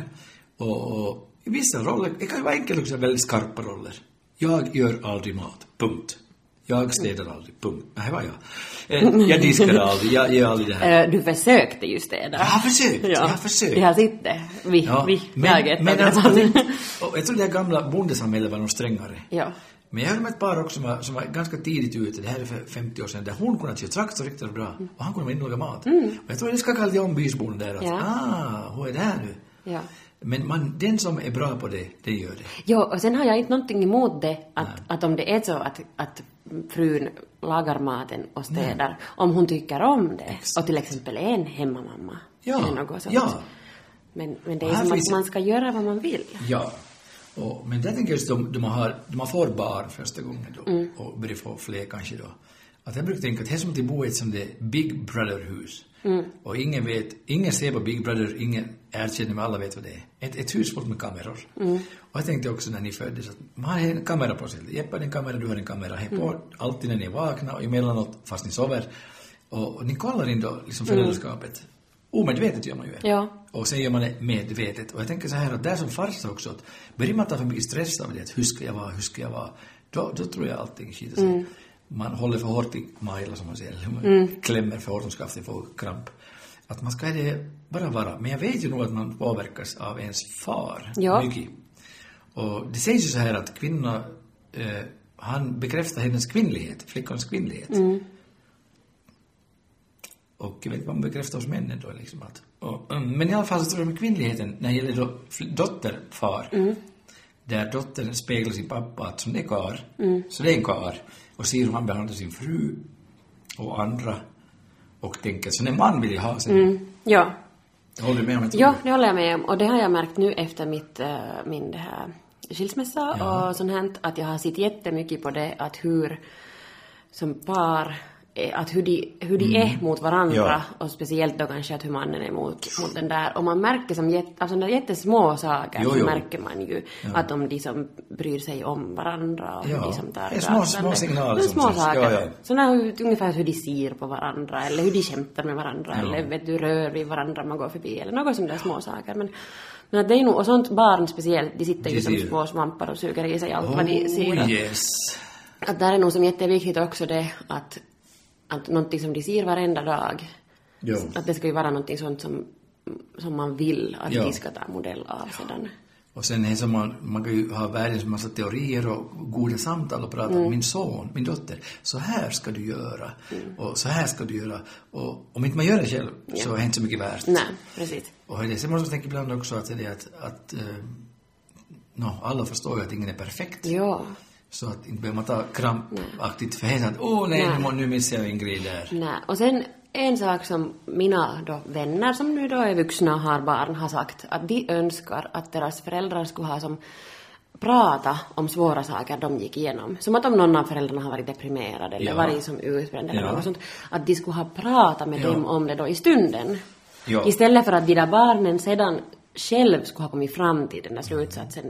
Speaker 1: Och, och i vissa roller, det kan ju vara enkelt också, väldigt skarpa roller. Jag gör aldrig mat, punkt. Jag städar aldrig, punkt. Nej, här var jag. Eh, Jag diskar aldrig, jag gör aldrig det här.
Speaker 2: Eh, Du försökte ju städa.
Speaker 1: Jag har försökt, jag har försökt.
Speaker 2: Jag sitter. Vi, vi, jaget.
Speaker 1: men
Speaker 2: och
Speaker 1: alltså,
Speaker 2: det var-
Speaker 1: [laughs] och jag tror det här gamla bondesamhället var nog strängare.
Speaker 2: [laughs] ja.
Speaker 1: Men jag hörde om ett par också som var, som var ganska tidigt ute, det här är för 50 år sedan, där hon kunde köra traktor riktigt bra
Speaker 2: Mm.
Speaker 1: och han kunde vara inne och laga mat. Och jag tror det skakade lite om bysbon där att,
Speaker 2: Ja.
Speaker 1: ah, hon är där nu.
Speaker 2: ja.
Speaker 1: Men man, den som är bra på det, den gör det.
Speaker 2: Jo, och sen har jag inte någonting emot det, att, att om det är så att, att frun lagar maten och städar, om hon tycker om det, och till exempel är en hemmamamma,
Speaker 1: Ja,
Speaker 2: eller något sånt.
Speaker 1: ja.
Speaker 2: Men, men det
Speaker 1: Och
Speaker 2: är
Speaker 1: här
Speaker 2: som
Speaker 1: Ah, finns-
Speaker 2: att man ska göra vad man vill.
Speaker 1: Ja. Och, men där tänker jag just de, de, har, de har får barn första gången då, och börjar få fler kanske då. Att jag brukar tänka att det är som att bo i ett som det Big Brother-hus. Och ingen vet, ingen ser på Big Brother, ingen erkänner, men alla vet vad det är. Ett, ett hus fullt med kameror. Och jag tänkte också när ni föddes att man har en kamera på sig. Jeppe har en kamera, du har en kamera. Hej på, alltid när ni är vakna och emellanåt fast ni sover. Och, och ni kollar in då liksom föräldraskapet. Omedvetet gör man ju det.
Speaker 2: Ja.
Speaker 1: Och sen gör man det medvetet. Och jag tänker så här att där som farsa också, att börjar man ta för mycket stress av det, att hur ska jag vara, hur ska jag vara, då, då tror jag allting skiter sig. Man håller för hårt i majla som man säger, eller man klämmer för hårt om skaftet får kramp. Att man ska det bara vara. Men jag vet ju nog att man påverkas av ens far
Speaker 2: Ja.
Speaker 1: mycket. Och det sägs ju så här att kvinna, eh, han bekräftar hennes kvinnlighet, flickans kvinnlighet. Och jag vet man bekräftar hos männen då liksom att... Och, mm, men i alla fall så tror jag med kvinnligheten, när det gäller då fl- dotterfar,
Speaker 2: Mm.
Speaker 1: där dottern speglar sin pappa att som det är kar,
Speaker 2: Mm.
Speaker 1: så det är en kar. Och ser hur han behandlar sin fru och andra och tänker så en man vill jag ha sen.
Speaker 2: Ja.
Speaker 1: Jag håller med om att
Speaker 2: Mm. Ja, det håller jag med om. Och det har jag märkt nu efter mitt, eh, min det här skilsmässa
Speaker 1: Ja.
Speaker 2: och sånt här, att jag har sett jättemycket på det att hur som par, eh, att hur de, hur de är mot varandra
Speaker 1: Mm. Ja.
Speaker 2: och speciellt då kanske att hur mannen är mot, mot den där. Och man märker som jätte, av sådana där jättesmå saker
Speaker 1: Jo,
Speaker 2: så
Speaker 1: jo.
Speaker 2: märker man ju att om de som bryr sig om varandra och hur
Speaker 1: Ja.
Speaker 2: de som tar
Speaker 1: Det är små-
Speaker 2: avstånd.
Speaker 1: små signaler
Speaker 2: Det är
Speaker 1: som
Speaker 2: små
Speaker 1: syns.
Speaker 2: saker.
Speaker 1: Ja, ja.
Speaker 2: Sådana hur- ungefär hur de ser på varandra eller hur de skämtar med varandra eller vet du, rör vid varandra man går förbi eller något sådana där små saker. Men, men att det är nog, och sånt barn speciellt, de sitter ju
Speaker 1: De
Speaker 2: som
Speaker 1: ser-
Speaker 2: små svampar och suger i sig allt vad de ser.
Speaker 1: Oh,
Speaker 2: Att-
Speaker 1: yes.
Speaker 2: Att där är nog som jätteviktigt också det att, att någonting som de ser varenda dag,
Speaker 1: Jo.
Speaker 2: att det ska ju vara någonting sånt som, som man vill att
Speaker 1: Ja.
Speaker 2: de ska ta modell av sedan.
Speaker 1: Och sen är det som man, man kan ju ha världens massa teorier och goda samtal och prata
Speaker 2: Mm.
Speaker 1: med min son, min dotter, så här ska du göra
Speaker 2: Mm.
Speaker 1: och så här ska du göra och om inte man gör det själv så är det inte så mycket värt.
Speaker 2: Nej, precis.
Speaker 1: Och det är så måste man tänka ibland också att det är att, att eh, nå, alla förstår ju att ingen är perfekt.
Speaker 2: Ja.
Speaker 1: Så att inte behöver man ta krampaktigt för henne att åh nej,
Speaker 2: Nej.
Speaker 1: nu må- nu missar jag en grej där.
Speaker 2: Nej. Och sen en sak som mina då vänner som nu då är vuxna och har barn har sagt att de önskar att deras föräldrar skulle ha som prata om svåra saker de gick igenom. Som att om någon av föräldrarna har varit deprimerad eller
Speaker 1: Ja.
Speaker 2: varit som utbränd eller
Speaker 1: Ja.
Speaker 2: något sånt, att de skulle ha pratat med
Speaker 1: Ja.
Speaker 2: dem om det då i stunden.
Speaker 1: Ja.
Speaker 2: Istället för att de där barnen sedan själv skulle ha kommit fram till den där slutsatsen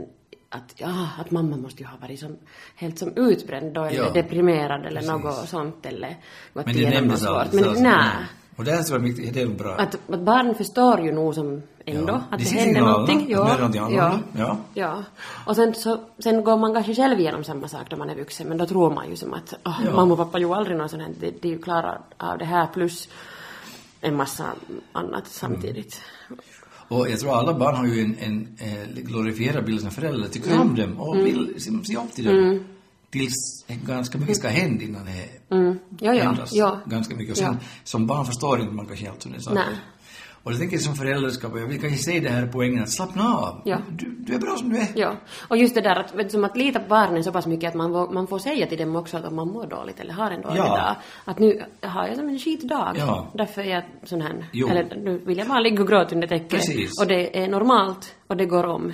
Speaker 2: att, ja, att mamma måste ju ha varit som, helt som utbränd då eller
Speaker 1: Ja.
Speaker 2: deprimerad eller något sånt eller gått
Speaker 1: Men det
Speaker 2: igenom
Speaker 1: nämndes
Speaker 2: något svårt.
Speaker 1: aldrig,
Speaker 2: Men
Speaker 1: så alltså,
Speaker 2: nej.
Speaker 1: nej. Och det här tror jag är viktigt, det är väl bra.
Speaker 2: Att, att barn förstår ju nog som ändå
Speaker 1: Ja.
Speaker 2: att det
Speaker 1: De ser
Speaker 2: händer
Speaker 1: signalerna,
Speaker 2: någonting.
Speaker 1: att det är någonting
Speaker 2: ja,
Speaker 1: annorlunda. Ja.
Speaker 2: ja. ja. Och sen, så, sen går man kanske själv igenom samma sak när man är vuxen men då tror man ju som att "Ah,
Speaker 1: Ja.
Speaker 2: mamma och pappa gjorde aldrig något sånt här. De, de är ju klara av det här plus en massa
Speaker 1: Mm.
Speaker 2: annat samtidigt.
Speaker 1: Och jag tror alla barn har ju en, en, eh, glorifierad bild av sina föräldrar, tycker
Speaker 2: Mm.
Speaker 1: om dem och vill se, se upp till dem. Tills ganska mycket ska hända innan det
Speaker 2: Mm. Ja, ja.
Speaker 1: ändras
Speaker 2: ja.
Speaker 1: ganska mycket. Och sen,
Speaker 2: Ja.
Speaker 1: som barn förstår inte man kanske helt sådana saker.
Speaker 2: Nej.
Speaker 1: Och jag tänker som föräldraskap, jag vill kanske säga det här poängen att slappna av.
Speaker 2: Ja.
Speaker 1: Du, du är bra som du är.
Speaker 2: Ja, och just det där att, vet, du, som att lita på barnen så pass mycket att man, vå- man får säga till dem också att om man mår dåligt eller har en dålig
Speaker 1: Ja.
Speaker 2: dag att nu har jag som en skitdag
Speaker 1: Ja.
Speaker 2: därför är jag sån här
Speaker 1: Jo.
Speaker 2: eller nu vill jag bara ligga och gråta under täcket
Speaker 1: Precis.
Speaker 2: och det är normalt och det går om och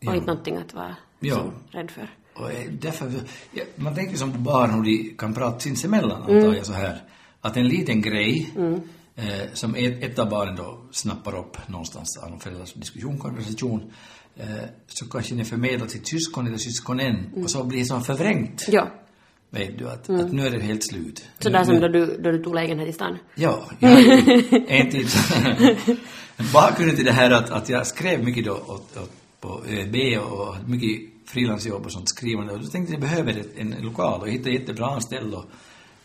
Speaker 1: Ja.
Speaker 2: inte någonting att vara
Speaker 1: Ja.
Speaker 2: så rädd för.
Speaker 1: Och eh, därför, ja, man tänker som på barn hur de kan prata sinsemellan, antar jag så här. Att en liten grej eh, som ett, ett av barnen då snappar upp någonstans av någon föräldrars diskussion, konversation, eh, så kanske den förmedlas till syskon eller syskonen och så blir det som förvrängt.
Speaker 2: Ja,
Speaker 1: Vet du, att, att nu är det helt slut.
Speaker 2: så där som då du, då du tog lägenhet i stan. [laughs]
Speaker 1: Ja, jag hade en tid. [laughs] Bakgrunden till det här att, att jag skrev mycket då åt, åt, på ÖB och hade mycket frilansjobb och sånt skrivande och då tänkte jag jag behöver ett, en lokal och jag hittade jättebra anställd och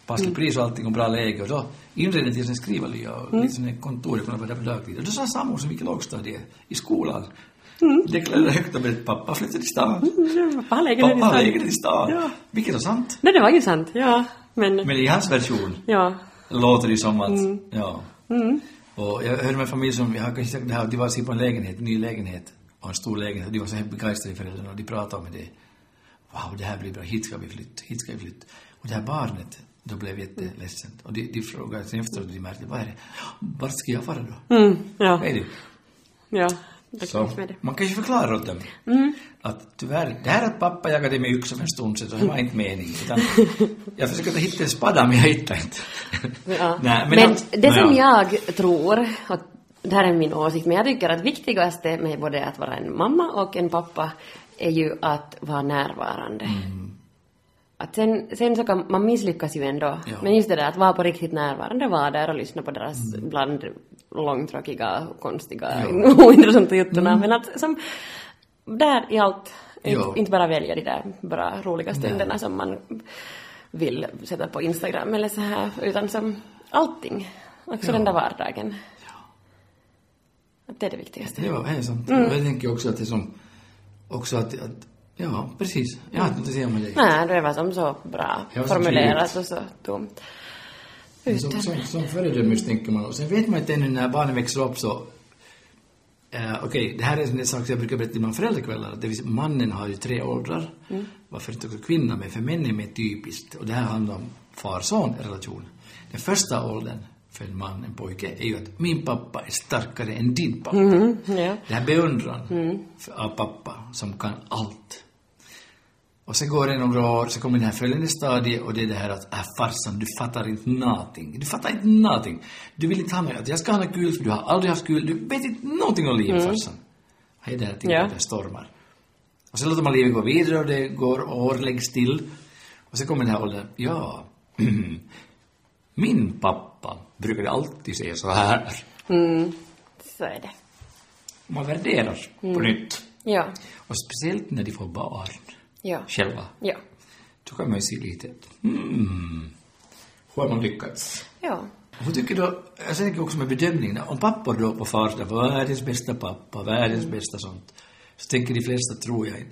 Speaker 2: Mm.
Speaker 1: passade pris och allting och bra läge och då inredde jag en skrivarlya och
Speaker 2: Mm.
Speaker 1: lite sån här kontor, jag kunde vara där på dagtid och då sa Samu som gick i lågstadiet i skolan
Speaker 2: Mm.
Speaker 1: deklarerade högt och berättade pappa flyttade till stan,
Speaker 2: Pappa har lägenhet i
Speaker 1: pappa
Speaker 2: Mm.
Speaker 1: har
Speaker 2: stan.
Speaker 1: lägenhet i stan,
Speaker 2: Ja.
Speaker 1: vilket är sant.
Speaker 2: Nej, det var ju sant. Ja, men,
Speaker 1: Men i hans version
Speaker 2: ja.
Speaker 1: låter det som att, ja. Och jag hörde med en familj som, jag har kanske sagt det här, de var och såg på en lägenhet, en ny lägenhet, och en stor lägenhet, och de var så helt begeistrade föräldrarna och de pratade om det. Wow, det här blir bra, hit ska vi flytta, hit ska vi flytta. Och det här barnet, då blev jätteledsamt. Och de, de frågade sen efteråt, och de märkte, vad är det? Vart ska jag fara då?
Speaker 2: Mm, ja,
Speaker 1: Vad är det?
Speaker 2: ja. Det
Speaker 1: Så,
Speaker 2: kanske var det. Mm.
Speaker 1: man kanske förklarar åt dem att tyvärr, det här att pappa jagade med yxa för en stund sedan, så det var inte meningen.
Speaker 2: [laughs]
Speaker 1: Utan jag försökte hitta en spadda, men jag hittade inte.
Speaker 2: Ja.
Speaker 1: [laughs] Nej,
Speaker 2: men
Speaker 1: att-
Speaker 2: det som
Speaker 1: ja.
Speaker 2: jag tror, och det här är min åsikt, men jag tycker att viktigaste med både att vara en mamma och en pappa är ju att vara närvarande.
Speaker 1: Mm.
Speaker 2: Att sen, sen så kan man misslyckas ju ändå,
Speaker 1: Ja.
Speaker 2: men just det där att vara på riktigt närvarande, vara där och lyssna på deras
Speaker 1: Mm.
Speaker 2: ibland långtråkiga, konstiga, [laughs] ointressanta juttorna,
Speaker 1: Mm.
Speaker 2: men att som där i allt,
Speaker 1: Ja.
Speaker 2: inte, inte bara välja de där bra, roliga stunderna som man vill sätta på Instagram eller så här, utan som allting. Också den där vardagen. Att det är det viktigaste.
Speaker 1: Ja, det är sant.
Speaker 2: Mm.
Speaker 1: Och jag tänker också att det är som... Också att... att ja, precis. Jag har inte att säga om det.
Speaker 2: Nej, det var som så bra
Speaker 1: Ja, så
Speaker 2: formulerat och så tomt.
Speaker 1: Som, som, som föredömligt tänker man. Och sen vet man inte ännu när barnen växer upp så... Eh, Okej, det här är en sak som jag brukar berätta i mina föräldrakvällar. att Det vill säga, mannen har ju tre åldrar. Varför inte också kvinnan? Men för män är mer typiskt. Och det här handlar om far-son-relation. Den första åldern för en man, en pojke, är ju att min pappa är starkare än din pappa.
Speaker 2: Mm, ja.
Speaker 1: Det här beundran för, av pappa som kan allt. Och sen går det några år, så kommer det här följande stadiet och det är det här att äh, farsan, du fattar inte någonting. Du fattar inte någonting. Du vill inte ha mig att jag ska ha något kul, för du har aldrig haft kul. Du vet inte någonting om livet, farsan. Hej där, till
Speaker 2: Ja.
Speaker 1: yeah. det stormar. Och sen låter man livet gå vidare och det går och år läggs till. Och sen kommer den här åldern, ja. [clears throat] Min pappa brukade alltid säga så här.
Speaker 2: Mm, så är det.
Speaker 1: Man värderar på nytt.
Speaker 2: Ja,
Speaker 1: Och speciellt när de får barn
Speaker 2: ja,
Speaker 1: själva,
Speaker 2: ja.
Speaker 1: då kan man ju se lite att, hmm, hur har man lyckats?
Speaker 2: Ja.
Speaker 1: Hon tycker då, jag tänker också med bedömningarna, om pappor då på farsan var världens bästa pappa, världens bästa sånt, så tänker de flesta, tror jag,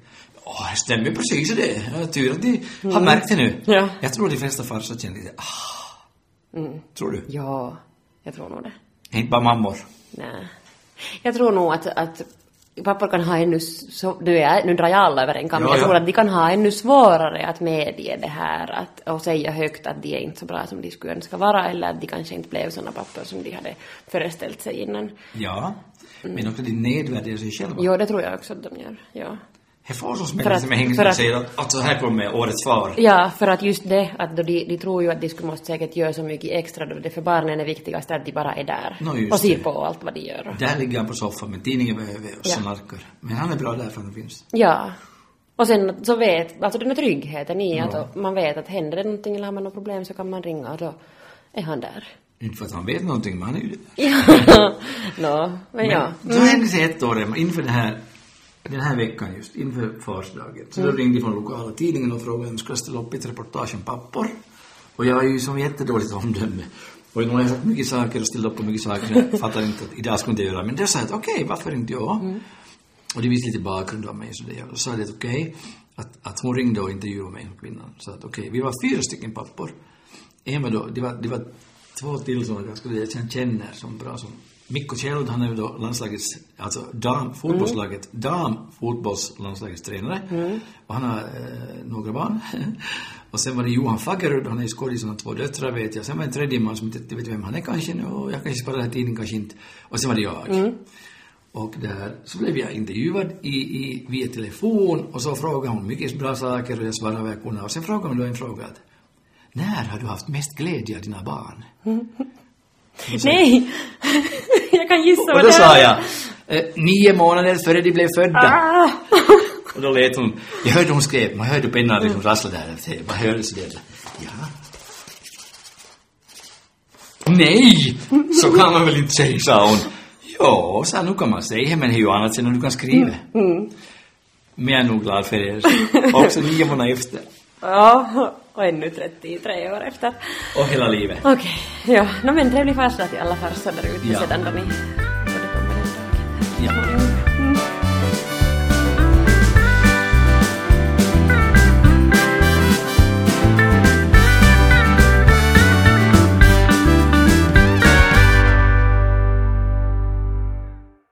Speaker 1: åh, det stämmer precis det, Ja, tur att ni har märkt det nu.
Speaker 2: Mm. Ja. Mm.
Speaker 1: Jag tror de flesta farsar känner lite, ah, tror du?
Speaker 2: Ja, jag tror nog det.
Speaker 1: Inte bara mammor.
Speaker 2: Nej. Jag tror nog att, att pappor kan ha ännu, så, du är, nu drar jag alla över en kam,
Speaker 1: Ja,
Speaker 2: jag
Speaker 1: ja.
Speaker 2: tror att de kan ha ännu svårare att medge det här att, och säga högt att de är inte så bra som de skulle önska vara eller att de kanske inte blev såna pappor som de hade föreställt sig innan.
Speaker 1: Ja, men också de nedvärderar sig själva.
Speaker 2: Jo, det tror jag också att de gör, ja.
Speaker 1: Det får
Speaker 2: För
Speaker 1: som
Speaker 2: att-
Speaker 1: som hänger
Speaker 2: för
Speaker 1: med och
Speaker 2: att-
Speaker 1: säger att, att så här kommer årets far.
Speaker 2: Ja, för att just det, att då de, de tror ju att de skulle måste säkert göra så mycket extra då det för barnen är viktigast att de bara är där
Speaker 1: Nå, just
Speaker 2: och ser
Speaker 1: det.
Speaker 2: på allt vad de gör.
Speaker 1: Där ligger han på soffan med tidningen bredvid och så
Speaker 2: Ja.
Speaker 1: narkar. Men han är bra där för han finns.
Speaker 2: Ja. Och sen så vet, alltså den här tryggheten i att man vet att händer det någonting eller har man något problem så kan man ringa och då är han där.
Speaker 1: Inte för att han vet någonting, men han är ju det.
Speaker 2: Ja. [laughs] Nå, men
Speaker 1: Men
Speaker 2: ja. Mm.
Speaker 1: Så hände sig ett år Emma, inför den här, den här veckan just, inför farsdagen. Så
Speaker 2: Mm.
Speaker 1: då ringde från lokala tidningen och frågade om jag skulle ställa upp ett reportage om pappor. Och jag är ju som jättedåligt omdöme. Och nu har jag sagt mycket saker och ställt upp på mycket saker. Jag fattar inte att idag skulle jag inte göra. Men då sa jag att okej, varför inte jag?
Speaker 2: Mm.
Speaker 1: Och det visste lite bakgrund om mig. Så det, och sa det att okej, att, att hon ringde och intervjuade mig som kvinnan. Så att okej, vi var fyra stycken pappor. En var då, det var, det var två till som var ganska jag känner- känner som bra som Mikko Kjeld, han är ju då landslagets, alltså dam, fotbollslaget, damfotbollslandslagets tränare. Och han har eh, några barn. [laughs] och sen var det Johan Fagerud, han är ju skådis, han har två döttrar vet jag. Sen var det en tredje man som inte riktigt vet vem han är kanske nu, och jag kanske sparar den här tidningen, kanske inte. Och sen var det jag. Och där så blev jag intervjuad i, i, via telefon och så frågade hon mycket bra saker och jag svarade vad jag kunde. Och sen frågade hon då en fråga att när har du haft mest glädje av
Speaker 2: [laughs]
Speaker 1: dina barn?
Speaker 2: Nej! [laughs] jag kan gissa
Speaker 1: Och
Speaker 2: vad
Speaker 1: då
Speaker 2: det
Speaker 1: sa
Speaker 2: är.
Speaker 1: jag, eh, nio månader före de blev födda.
Speaker 2: Ah!
Speaker 1: Och då lät hon, jag hörde hon skrev, man hörde pennan liksom rassla där, man hörde sådär. Ja. Nej, så kan man väl inte säga, sa hon. Ja, sa nu kan man säga, men det är ju annat sen när du kan skriva. Men jag är nog glad för er. Också nio månader efter.
Speaker 2: [laughs] Ja, och ännu 33 år efter.
Speaker 1: Och hela livet.
Speaker 2: Okej, ja. No men trevlig farsdag till alla farsar där ute
Speaker 1: Ja.
Speaker 2: sedan då ni... Både kommer en dag.
Speaker 1: Ja.